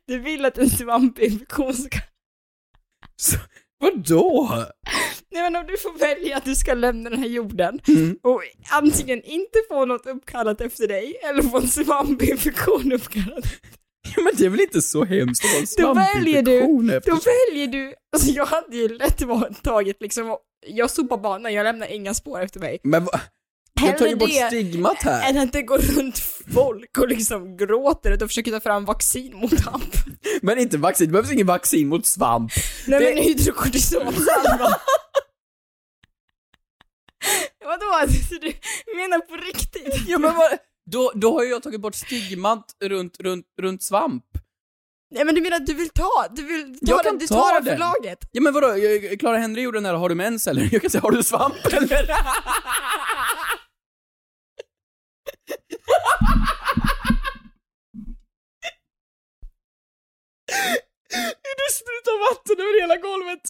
Speaker 8: Du vill att en svampinfektion ska...
Speaker 9: Vadå?
Speaker 8: Nej men om du får välja att du ska lämna den här jorden
Speaker 9: Mm.
Speaker 8: och antingen inte få något uppkallat efter dig eller få en svampinfektion uppkallad.
Speaker 9: Ja, Men det är väl inte så hemskt att ha en
Speaker 8: Då väljer du,
Speaker 9: svampinfektion
Speaker 8: då
Speaker 9: efter-
Speaker 8: väljer du, alltså jag hade ju lätt varit- tagit liksom, och- jag sopar banan, jag lämnar inga spår efter mig.
Speaker 9: Men va? Jag tar ju
Speaker 8: Hellre
Speaker 9: bort
Speaker 8: det
Speaker 9: stigmat här.
Speaker 8: Än att det går runt folk och liksom gråter och försöker ta fram vaccin mot hamp.
Speaker 9: Men inte vaccin, det behövs ingen vaccin mot svamp.
Speaker 8: Nej
Speaker 9: Det-
Speaker 8: men hydrokortisonsalva. Vadå? Så du menar på riktigt?
Speaker 9: Ja, men vad, då, då har ju jag tagit bort stigmat runt, runt, runt svamp.
Speaker 8: Nej men du menar att du vill ta, du vill ta
Speaker 9: Jag
Speaker 8: den,
Speaker 9: kan
Speaker 8: du
Speaker 9: ta
Speaker 8: tar den
Speaker 9: den.
Speaker 8: för laget?
Speaker 9: Ja men vadå, jag- Clara Henry gjorde den här har du mens eller? Jag kan säga har du svamp eller?
Speaker 8: Du sprutar vatten över hela golvet!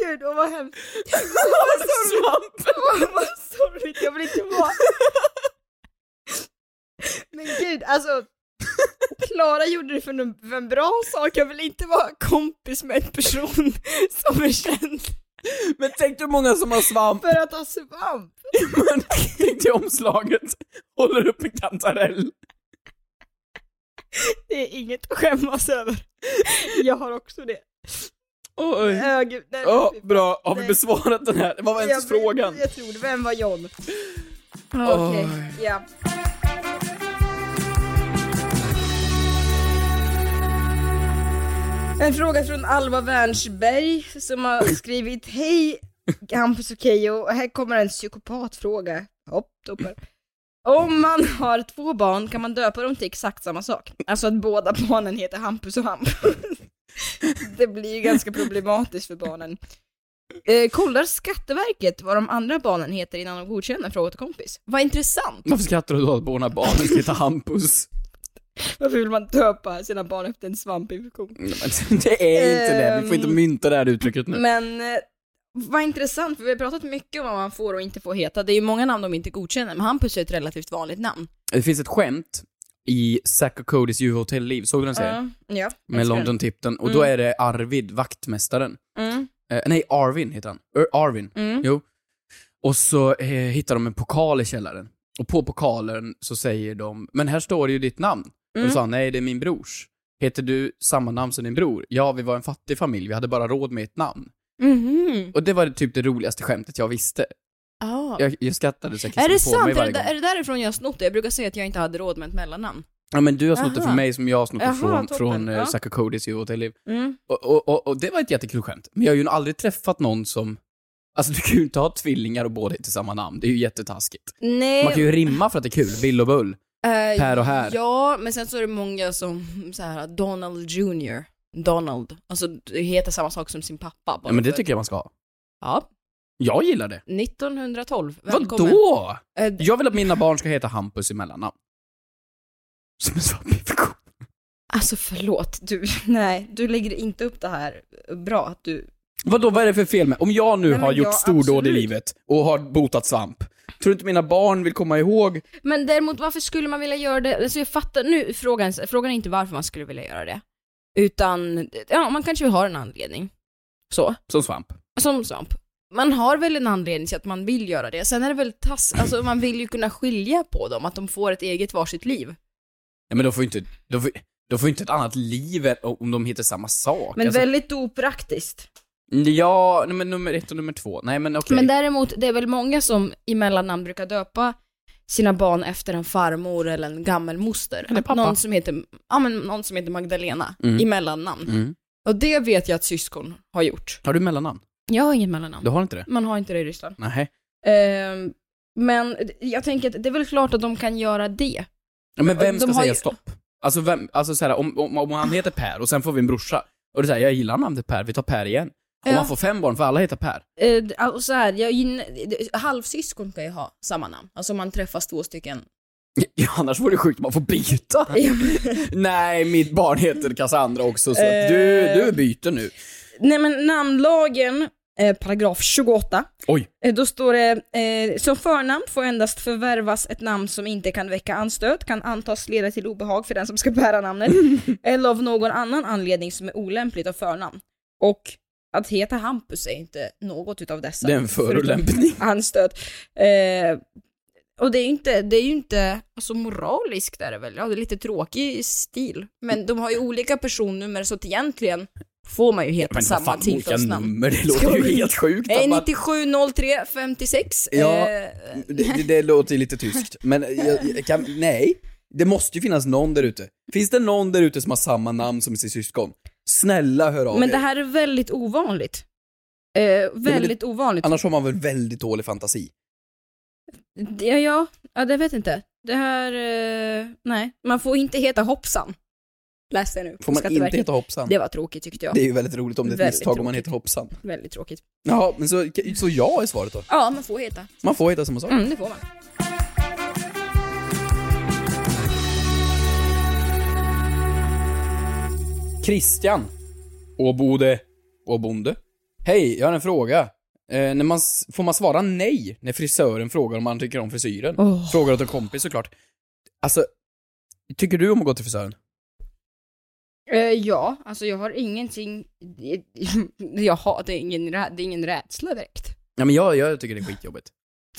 Speaker 8: Gud, åh vad hemskt. Vad sorgligt. Vad- Vad sorgligt, jag vill inte vara... Men gud, alltså. Klara gjorde det för en, för en bra sak, jag vill inte vara kompis med en person som är känd
Speaker 9: Men tänk dig hur många som har svamp,
Speaker 8: för att ha svamp.
Speaker 9: tänk dig omslaget, håller upp en kantarell.
Speaker 8: Det är inget att skämmas över. Jag har också det.
Speaker 9: Oj.
Speaker 8: Äh, gud, nej,
Speaker 9: Ja,
Speaker 8: fy fan.
Speaker 9: bra, har vi
Speaker 8: Nej.
Speaker 9: besvarat den här? Vad var ens
Speaker 8: Jag vet-
Speaker 9: frågan?
Speaker 8: Jag tror det, vem var John? Okej,
Speaker 9: Oj.
Speaker 8: ja. En fråga från Alva Wernsberg som har skrivit Hej Hampus och Keyyo, och här kommer en psykopatfråga. Hopp, toppar. Om man har två barn kan man döpa dem till exakt samma sak. Alltså att båda barnen heter Hampus och Hampus. Det blir ju ganska problematiskt för barnen. Eh, kollar Skatteverket vad de andra barnen heter innan de godkänner fråga till kompis? Vad intressant!
Speaker 9: Varför skrattar du då att barnen barnen ska heta Hampus?
Speaker 8: Varför vill man döpa sina barn efter en svampinfektion?
Speaker 9: Nej, men Det är inte det, vi får inte
Speaker 8: Ehm,
Speaker 9: mynta det här uttrycket nu.
Speaker 8: Men eh, vad intressant, för vi har pratat mycket om vad man får och inte får heta. Det är ju många namn de inte godkänner, men Hampus är ett relativt vanligt namn.
Speaker 9: Det finns ett skämt i Zack och Codys djurhotell-liv, såg du den serien?
Speaker 8: Ja, ja,
Speaker 9: Med
Speaker 8: älskar den.
Speaker 9: London Tipton, och då
Speaker 8: Mm.
Speaker 9: är det Arvid, vaktmästaren.
Speaker 8: Mm.
Speaker 9: Eh, nej, Arvin heter han. Er, Arvin.
Speaker 8: Mm.
Speaker 9: Jo. Och så eh, hittar de en pokal i källaren. Och på pokalen så säger de, men här står det ju ditt namn. Och
Speaker 8: Mm.
Speaker 9: då sa han, nej det är min brors. Heter du samma namn som din bror? Ja, vi var en fattig familj, vi hade bara råd med ett namn.
Speaker 8: Mhm.
Speaker 9: Och det var typ det roligaste skämtet jag visste.
Speaker 8: Ah.
Speaker 9: Jag, jag skrattade så jag kissade
Speaker 8: Är det
Speaker 9: på
Speaker 8: sant?
Speaker 9: mig
Speaker 8: Är
Speaker 9: varje
Speaker 8: det,
Speaker 9: gång.
Speaker 8: är det därifrån jag har snott det? Jag brukar säga att jag inte hade råd med ett mellannamn.
Speaker 9: Ja men du har snott det
Speaker 8: Aha.
Speaker 9: från mig som jag har snott det
Speaker 8: Jaha,
Speaker 9: från,
Speaker 8: toppen.
Speaker 9: från eh,
Speaker 8: Ja.
Speaker 9: ja. Zack och Codys djurhotellliv.
Speaker 8: Mm.
Speaker 9: Och, och, och, och det var ett jättekul skämt. Men jag har ju aldrig träffat någon som... Alltså du kan ju inte ha tvillingar och båda heter samma namn. Det är ju jättetaskigt.
Speaker 8: Nej.
Speaker 9: Man kan ju rimma för att det är kul. Bill och Bull.
Speaker 8: Eh,
Speaker 9: här och här.
Speaker 8: Ja, men sen så är det många som så här, Donald Jr. Donald. Alltså det heter samma sak som sin pappa.
Speaker 9: Ja, men det tycker jag man ska ha.
Speaker 8: Ja.
Speaker 9: Jag gillar det.
Speaker 8: 1912. Välkommen.
Speaker 9: Vadå?
Speaker 8: Eh,
Speaker 9: Jag vill att mina barn ska heta Hampus i mellannamn. Som en svampinfektion.
Speaker 8: Alltså förlåt, du, nej, du lägger inte upp det här bra att du...
Speaker 9: Vadå, vad är det för fel med... Om jag nu
Speaker 8: Nej, men
Speaker 9: har gjort
Speaker 8: jag-
Speaker 9: stordåd i
Speaker 8: absolut.
Speaker 9: livet och har botat svamp, tror du inte mina barn vill komma ihåg?
Speaker 8: Men däremot, varför skulle man vilja göra det? Alltså jag fattar, nu är frågan, frågan är inte varför man skulle vilja göra det. Utan, ja, man kanske har en anledning. Så.
Speaker 9: Som svamp.
Speaker 8: Som svamp. Man har väl en anledning till att man vill göra det. Sen är det väl tass, alltså man vill ju kunna skilja på dem, att de får ett eget varsitt liv.
Speaker 9: Ja, men de får ju inte... De får, De får ju inte ett annat liv ä- om de heter samma sak.
Speaker 8: Men
Speaker 9: Alltså,
Speaker 8: väldigt opraktiskt.
Speaker 9: Ja, nej, men nummer ett och nummer två. Nej men okej.
Speaker 8: Men däremot, det är väl många som i mellannamn brukar döpa sina barn efter en farmor eller en gammelmoster.
Speaker 9: Eller
Speaker 8: Att
Speaker 9: pappa.
Speaker 8: Någon som heter, ja, men någon som heter Magdalena
Speaker 9: Mm.
Speaker 8: i mellannamn.
Speaker 9: Mm.
Speaker 8: Och det vet jag att syskon har gjort.
Speaker 9: Har du mellannamn?
Speaker 8: Jag har ingen mellannamn.
Speaker 9: Du har inte det?
Speaker 8: Man har inte det i Ryssland.
Speaker 9: Nej.
Speaker 8: Ehm, men jag tänker att det är väl klart att de kan göra det.
Speaker 9: Men vem
Speaker 8: De
Speaker 9: ska
Speaker 8: har
Speaker 9: säga
Speaker 8: ju-
Speaker 9: stopp? Alltså, vem, alltså så här, om, om, om han heter Per och sen får vi en brorsa, och det är så här, jag gillar namnet Per, vi tar Per igen. Om
Speaker 8: Ja.
Speaker 9: man får fem barn, för alla heter Per.
Speaker 8: Eh, d- och så här, jag, gyn- d- halvsyskon kan ju ha samma namn. Alltså om man träffas två stycken.
Speaker 9: Ja, annars vore det sjukt om man får byta. Nej, mitt barn heter Cassandra också, så att du,
Speaker 8: Eh.
Speaker 9: du byter nu.
Speaker 8: Nej men namnlagen, eh, paragraf 28.
Speaker 9: Oj.
Speaker 8: Eh, Då står det, eh, som förnamn får endast förvärvas ett namn som inte kan väcka anstöt, kan antas leda till obehag för den som ska bära namnet, eller av någon annan anledning som är olämpligt av förnamn. Och att heta Hampus är inte något utav dessa.
Speaker 9: Det är en förolämpning.
Speaker 8: Förutom Anstöt. Eh, och det är ju inte, det är ju inte, alltså moraliskt är det väl, ja det är lite tråkig stil. Men de har ju olika personnummer så att egentligen får man ju heta
Speaker 9: Men vad
Speaker 8: samma
Speaker 9: fan, olika
Speaker 8: tilltalsnamn.
Speaker 9: nummer, det låter ju helt sjukt.
Speaker 8: Nej,
Speaker 9: att man-
Speaker 8: 9703 56.
Speaker 9: Ja,
Speaker 8: Eh,
Speaker 9: det, det- det låter ju lite tyskt. Men jag, jag kan, nej, det måste ju finnas någon där ute. Finns det någon där ute som har samma namn som sin syskon? Snälla hör av
Speaker 8: men
Speaker 9: er.
Speaker 8: det här är väldigt ovanligt. Eh, väldigt ovanligt.
Speaker 9: Annars har man väl väldigt dålig fantasi.
Speaker 8: Ja, ja, ja, det vet jag inte. Det här, eh, nej. Man får inte heta Hoppsan. Läste jag nu. på
Speaker 9: Får man inte
Speaker 8: Skatteverket.
Speaker 9: heta Hoppsan?
Speaker 8: Det var tråkigt tyckte jag.
Speaker 9: Det är ju väldigt roligt om det är ett
Speaker 8: Väldigt
Speaker 9: misstag om man
Speaker 8: tråkigt.
Speaker 9: heter Hoppsan.
Speaker 8: Väldigt tråkigt.
Speaker 9: Ja, men så, så ja är svaret då.
Speaker 8: Ja, man får heta.
Speaker 9: Man får heta samma sak.
Speaker 8: Mm, det får man.
Speaker 9: Christian Åbode Åbonde. Hej, jag har en fråga. Eh, när man, s- får man svara nej när frisören frågar om man tycker om frisyren?
Speaker 8: Åh.
Speaker 9: Frågar åt en kompis såklart. Alltså, tycker du om att gå till frisören?
Speaker 8: Eh, ja, alltså jag har ingenting, jag har, det, är ingen, rä- det är ingen rädsla direkt.
Speaker 9: Ja, men jag, jag tycker det är skitjobbigt.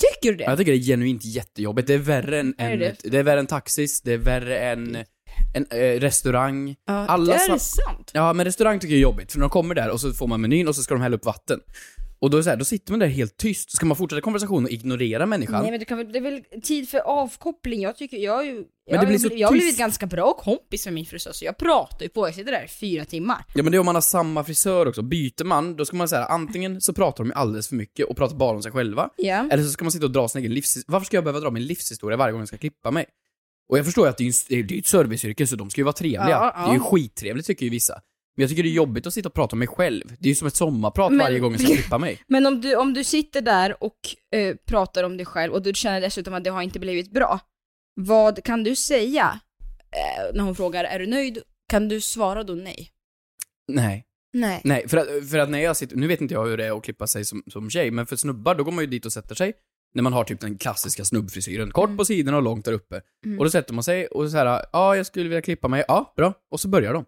Speaker 8: Tycker du det?
Speaker 9: Jag tycker det är genuint jättejobbigt. Det är värre än,
Speaker 8: Är
Speaker 9: än
Speaker 8: det?
Speaker 9: det? är värre än taxis, det är värre än, en eh, restaurang.
Speaker 8: Ja,
Speaker 9: Alla
Speaker 8: är det
Speaker 9: sa-
Speaker 8: sant?
Speaker 9: Ja, men restaurang tycker jag är jobbigt, för när de kommer där och så får man menyn och så ska de hälla upp vatten. Och då, är det så här, då sitter man där helt tyst. Ska man fortsätta konversationen och ignorera människan?
Speaker 8: Nej men du kan väl, det är väl tid för avkoppling, jag tycker, jag är ju,
Speaker 9: det
Speaker 8: jag, har ju
Speaker 9: blir så
Speaker 8: bli- jag har
Speaker 9: tyst.
Speaker 8: blivit ganska bra kompis med min frisör så jag pratar ju på, jag sitter där i fyra timmar.
Speaker 9: Ja men det är om man har samma frisör också. Byter man, då ska man säga antingen så pratar de ju alldeles för mycket och pratar bara om sig själva.
Speaker 8: Ja.
Speaker 9: Eller så ska man sitta och dra sin egen livshistoria. Varför ska jag behöva dra min livshistoria varje gång jag ska klippa mig? Och jag förstår ju att det är, en, det är ju ett serviceyrke så de ska ju vara trevliga.
Speaker 8: Ja, ja.
Speaker 9: Det är ju skittrevligt tycker ju vissa. Men jag tycker det är jobbigt att sitta och prata om mig själv. Det är ju som ett sommarprat
Speaker 8: Men-
Speaker 9: varje gång jag ska klippa mig.
Speaker 8: Men om du, om du sitter där och eh, pratar om dig själv och du känner dessutom att det har inte blivit bra, vad kan du säga eh, när hon frågar är du nöjd? Kan du svara då nej?
Speaker 9: Nej.
Speaker 8: Nej.
Speaker 9: Nej, för att, för att när jag sitter, nu vet inte jag hur det är att klippa sig som, som tjej, men för snubbar då går man ju dit och sätter sig när man har typ den klassiska snubbfrisyren. Kort på sidorna och långt där uppe.
Speaker 8: Mm.
Speaker 9: Och då sätter man sig och så här, ja jag skulle vilja klippa mig, ja bra. Och så börjar de.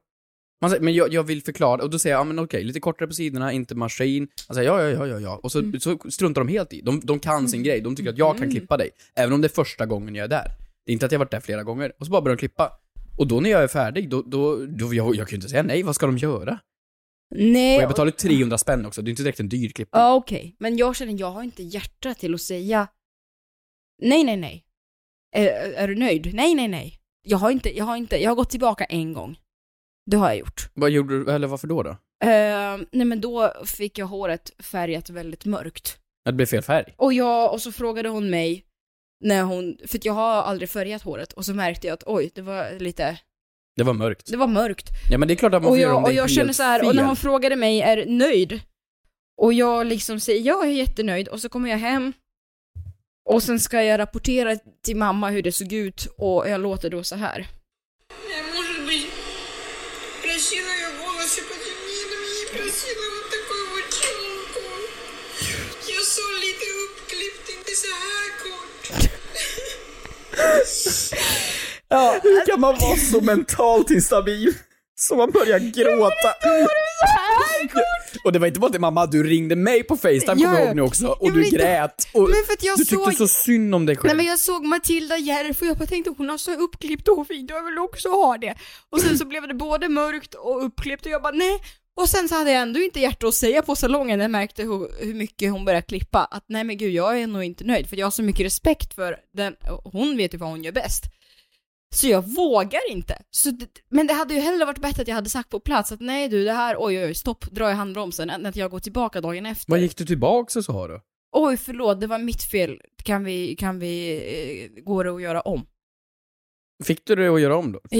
Speaker 9: Man säger, men jag, jag vill förklara, och då säger jag, ja men okej, lite kortare på sidorna, inte maskin. Man säger, ja, ja, ja, ja, ja. Och så, så struntar de helt i. De, de kan sin grej, de tycker att jag kan
Speaker 8: Mm.
Speaker 9: klippa dig. Även om det är första gången jag är där. Det är inte att jag varit där flera gånger. Och så bara börjar de klippa. Och då när jag är färdig, då, då, då jag, jag kan ju inte säga nej, vad ska de göra?
Speaker 8: Nej.
Speaker 9: Och jag betalar 300 spänn också, det är inte direkt en dyr klippning.
Speaker 8: Ja okej, men jag känner jag har inte hjärta till att säga nej, nej, nej. Är, är du nöjd? Nej, nej, nej. Jag har inte, jag har inte, jag har gått tillbaka en gång. Det har jag gjort.
Speaker 9: Vad gjorde du, eller varför då då?
Speaker 8: Eh, nej men då fick jag håret färgat väldigt mörkt.
Speaker 9: Att det blev fel färg?
Speaker 8: Och, jag, och så frågade hon mig, när hon, för att jag har aldrig färgat håret, och så märkte jag att oj, det var lite,
Speaker 9: Det var mörkt.
Speaker 8: det var mörkt.
Speaker 9: Ja men det är klart att man
Speaker 8: Och
Speaker 9: får göra om det
Speaker 8: jag, och
Speaker 9: är
Speaker 8: jag
Speaker 9: helt
Speaker 8: känner så här, och när
Speaker 9: fel.
Speaker 8: hon frågade mig, är du nöjd? Och jag liksom säger, ja, jag är jättenöjd, och så kommer jag hem, och sen ska jag rapportera till mamma hur det såg ut, och jag låter då så här.
Speaker 6: Я, может быть, просила ее волосы потемнее, и просила вот такую вот челку. Я så lite uppklippt, inte så här kort.
Speaker 9: Hur kan man vara så mentalt instabil? Så man börjar gråta.
Speaker 8: så här kort!
Speaker 9: Och det var inte bara till mamma, du ringde mig på Facetime kommer
Speaker 8: Ja,
Speaker 9: jag
Speaker 8: ja.
Speaker 9: ihåg nu också och
Speaker 8: Ja, men
Speaker 9: du
Speaker 8: inte-
Speaker 9: grät och
Speaker 8: men för att jag
Speaker 9: du tyckte
Speaker 8: såg-
Speaker 9: så synd om dig själv.
Speaker 8: Nej men jag såg Matilda Järf och jag bara tänkte hon har så uppklippt hårfin, jag vill också ha det. Och sen så blev det både mörkt och uppklippt och jag bara nej. Och sen så hade jag ändå inte hjärta att säga på salongen när jag märkte hur, hur mycket hon började klippa att nej men gud jag är nog inte nöjd för jag har så mycket respekt för den, hon vet ju vad hon gör bäst. Så jag vågar inte. Så det, men det hade ju hellre varit bättre att jag hade sagt på plats att nej du det här, oj oj oj, stopp, dra i handbromsen än att jag går tillbaka dagen efter.
Speaker 9: Vad gick du tillbaks och sa då?
Speaker 8: Oj, förlåt, det var mitt fel. Kan vi, kan vi, eh, går det att göra om?
Speaker 9: Fick du det att göra om då?
Speaker 8: Ja,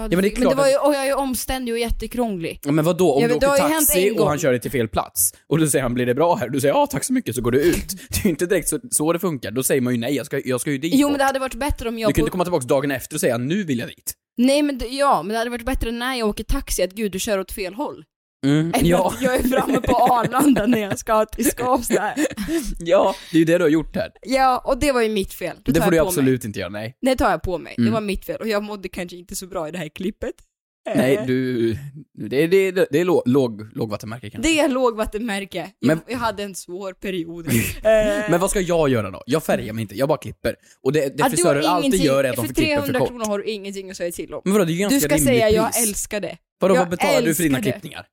Speaker 9: men
Speaker 8: men,
Speaker 9: det är
Speaker 8: det, men
Speaker 9: klart
Speaker 8: det var
Speaker 9: att-
Speaker 8: ju, och jag är ju omständig och jättekrånglig.
Speaker 9: Ja, men vad då om
Speaker 8: Ja,
Speaker 9: du
Speaker 8: men det har
Speaker 9: åker
Speaker 8: ju hänt
Speaker 9: taxi
Speaker 8: en
Speaker 9: och han
Speaker 8: gång.
Speaker 9: kör dig till fel plats och du säger han blir det bra här? Du säger ja tack så mycket så går du ut. Det är ju inte direkt så, så det funkar. Då säger man ju nej, jag ska, jag ska ju dit.
Speaker 8: Jo,
Speaker 9: bort.
Speaker 8: men det hade varit bättre om
Speaker 9: Du
Speaker 8: jag...
Speaker 9: kan
Speaker 8: På,
Speaker 9: inte komma tillbaks dagen efter och säga nu vill jag dit.
Speaker 8: Nej, men det, ja, men det hade varit bättre när jag åker taxi att gud, du kör åt fel håll.
Speaker 9: Mm,
Speaker 8: Än
Speaker 9: ja.
Speaker 8: att jag är framme på Arlanda när jag ska till Skavsta.
Speaker 9: ja, det är ju det du har gjort här.
Speaker 8: Ja, och det var ju mitt fel.
Speaker 9: Det,
Speaker 8: tar
Speaker 9: får
Speaker 8: jag
Speaker 9: du
Speaker 8: på
Speaker 9: absolut
Speaker 8: Mig.
Speaker 9: inte göra, nej.
Speaker 8: Det tar jag på mig.
Speaker 9: Mm.
Speaker 8: Det var mitt fel. Och jag mådde kanske inte så bra i det här klippet.
Speaker 9: Nej,
Speaker 8: Eh,
Speaker 9: du... Det, det, det, det är låg, låg, lågvattenmärke kanske.
Speaker 8: Det är lågvattenmärke.
Speaker 9: Men-
Speaker 8: Men... Jag hade en svår period. Eh,
Speaker 9: Men vad ska jag göra då? Jag färgar mig inte, jag bara klipper. Och det, det
Speaker 8: Ja, du har
Speaker 9: frisörer alltid
Speaker 8: ingenting-
Speaker 9: gör är att de får
Speaker 8: för
Speaker 9: klippa för
Speaker 8: 300
Speaker 9: kort.
Speaker 8: kronor har du ingenting att säga till om.
Speaker 9: Men vadå, det är ju
Speaker 8: du
Speaker 9: ganska
Speaker 8: ska
Speaker 9: rimligt
Speaker 8: säga jag
Speaker 9: pris."
Speaker 8: älskar det.
Speaker 9: Vadå,
Speaker 8: jag
Speaker 9: vad betalar du för dina
Speaker 8: älskar det.
Speaker 9: klippningar?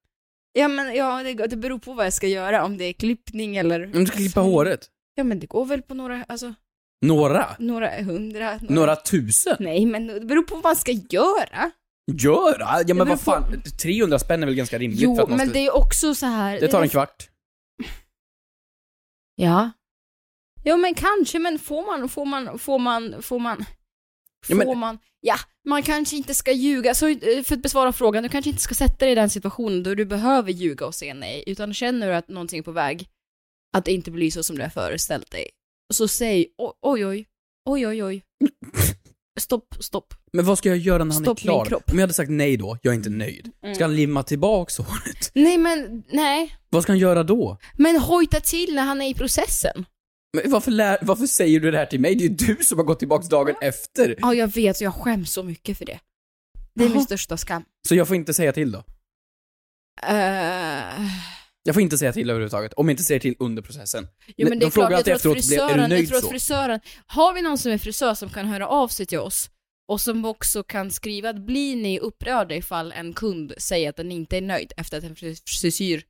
Speaker 8: Ja men ja, det, det beror på vad jag ska göra, om det är klippning eller...
Speaker 9: Om du ska klippa
Speaker 8: Alltså,
Speaker 9: håret?
Speaker 8: Ja men det går väl på några, alltså,
Speaker 9: Några?
Speaker 8: några hundra. Några...
Speaker 9: Några tusen?
Speaker 8: Nej men det beror på vad man ska göra.
Speaker 9: Göra? Ja men
Speaker 8: beror
Speaker 9: vad fan, 300 spänn är väl ganska rimligt för
Speaker 8: Jo,
Speaker 9: att man
Speaker 8: men
Speaker 9: ska...
Speaker 8: det är också så här...
Speaker 9: Det tar en kvart.
Speaker 8: Ja. Jo men kanske, men får man, får man, får man, får man,
Speaker 9: Ja,
Speaker 8: får
Speaker 9: men-
Speaker 8: man, ja, man kanske inte ska ljuga, så eh, för att besvara frågan, du kanske inte ska sätta dig i den situationen då du behöver ljuga och säga nej, utan känner du att någonting är på väg, att det inte blir så som du har föreställt dig, så säg o- oj, oj, oj, oj, oj, stopp, stopp.
Speaker 9: Men vad ska jag göra när han
Speaker 8: Stopp
Speaker 9: är
Speaker 8: min
Speaker 9: klar?
Speaker 8: kropp.
Speaker 9: Om jag hade sagt nej då, jag är inte nöjd.
Speaker 8: Mm.
Speaker 9: Ska han limma tillbaks håret?
Speaker 8: Nej men, nej,
Speaker 9: Vad ska han göra då?
Speaker 8: men hojta till när han är i processen.
Speaker 9: Men varför, lär, varför säger du det här till mig? Det är ju du som har gått tillbaks dagen efter.
Speaker 8: Ja, jag vet, jag skäms så mycket för det. Det är min största skam.
Speaker 9: Så jag får inte säga till då?
Speaker 8: Eh,
Speaker 9: Jag får inte säga till överhuvudtaget, om jag inte säger till under processen.
Speaker 8: Jo men
Speaker 9: de
Speaker 8: det är klart,
Speaker 9: frågar
Speaker 8: jag
Speaker 9: alltid
Speaker 8: tror att
Speaker 9: efteråt, "Blev- är
Speaker 8: frisören,
Speaker 9: du
Speaker 8: jag
Speaker 9: nöjd
Speaker 8: tror att
Speaker 9: så?
Speaker 8: frisören, har vi någon som är frisör som kan höra av sig till oss och som också kan skriva att blir ni upprörda ifall en kund säger att den inte är nöjd efter att en fris- frisyr,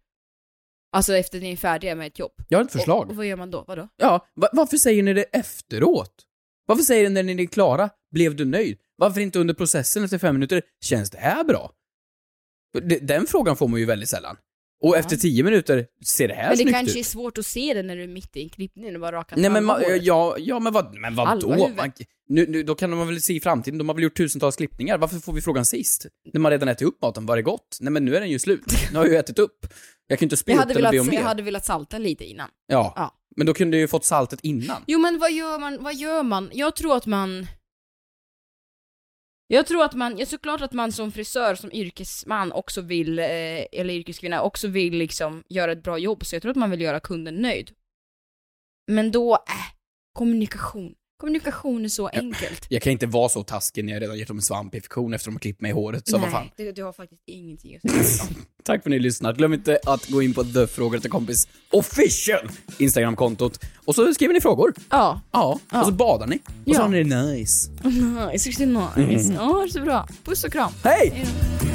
Speaker 8: alltså efter att ni är färdiga med ett jobb?
Speaker 9: Jag har ett
Speaker 8: Och,
Speaker 9: förslag.
Speaker 8: och vad gör man då? Vadå?
Speaker 9: Ja, va- varför säger ni det efteråt? Varför säger ni när ni är klara, blev du nöjd? Varför inte under processen efter fem minuter, känns det här bra? D- Den frågan får man ju väldigt sällan. Och efter tio minuter, ser det här
Speaker 8: Men det
Speaker 9: snyggt
Speaker 8: kanske är
Speaker 9: ut?
Speaker 8: svårt att se det när du är mitt i en klippning och bara rakat
Speaker 9: Nej men,
Speaker 8: halva
Speaker 9: ma-
Speaker 8: håret.
Speaker 9: ja, ja men vad, men
Speaker 8: Halva
Speaker 9: vadå?
Speaker 8: huvudet.
Speaker 9: Man, nu, nu, då kan man väl se i framtiden, de har väl gjort tusentals klippningar, varför får vi frågan sist? När man redan ätit upp maten, var det gott? Nej men nu är den ju slut, nu har jag ju ätit upp. Jag kan ju inte spy
Speaker 8: jag,
Speaker 9: upp
Speaker 8: hade
Speaker 9: den och be om
Speaker 8: velat,
Speaker 9: mer.
Speaker 8: jag hade velat salta lite innan.
Speaker 9: Ja.
Speaker 8: Ja.
Speaker 9: men då kunde jag ju fått saltet innan.
Speaker 8: Jo men vad gör man, vad gör man? Jag tror att man... Jag tror att man, ja, såklart att man som frisör, som yrkesman också vill, eh, eller yrkeskvinna, också vill liksom göra ett bra jobb, så jag tror att man vill göra kunden nöjd. Men då, äh, kommunikation. Kommunikation är så enkelt.
Speaker 9: Jag kan inte vara så taskig när jag redan gett dem en svampinfektion efter att de har klippt mig i håret, så vad fan.
Speaker 8: Nej, du, du har faktiskt ingenting att säga om.
Speaker 9: Tack för att ni lyssnat. Glöm inte att gå in på The Frågar till kompis official Instagram-kontot. Och så skriver ni frågor.
Speaker 8: Ja.
Speaker 9: Ja. Och så badar ni. Och så
Speaker 8: Ja.
Speaker 9: har ni det nice.
Speaker 8: Nice, riktigt nice. Ja, det är så bra. Puss och kram.
Speaker 9: Hej!
Speaker 8: då.